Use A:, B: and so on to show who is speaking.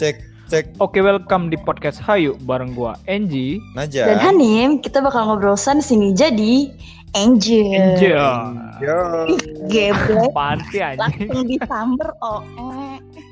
A: Cek, cek.
B: Oke, welcome di podcast Hayu bareng gua Angie.
A: Naja.
C: Dan Hanim, kita bakal ngobrol sana sini jadi Angel.
B: Angel.
A: Yo.
C: Geblek
B: Panti anjing.
C: oh, langsung disamber OE.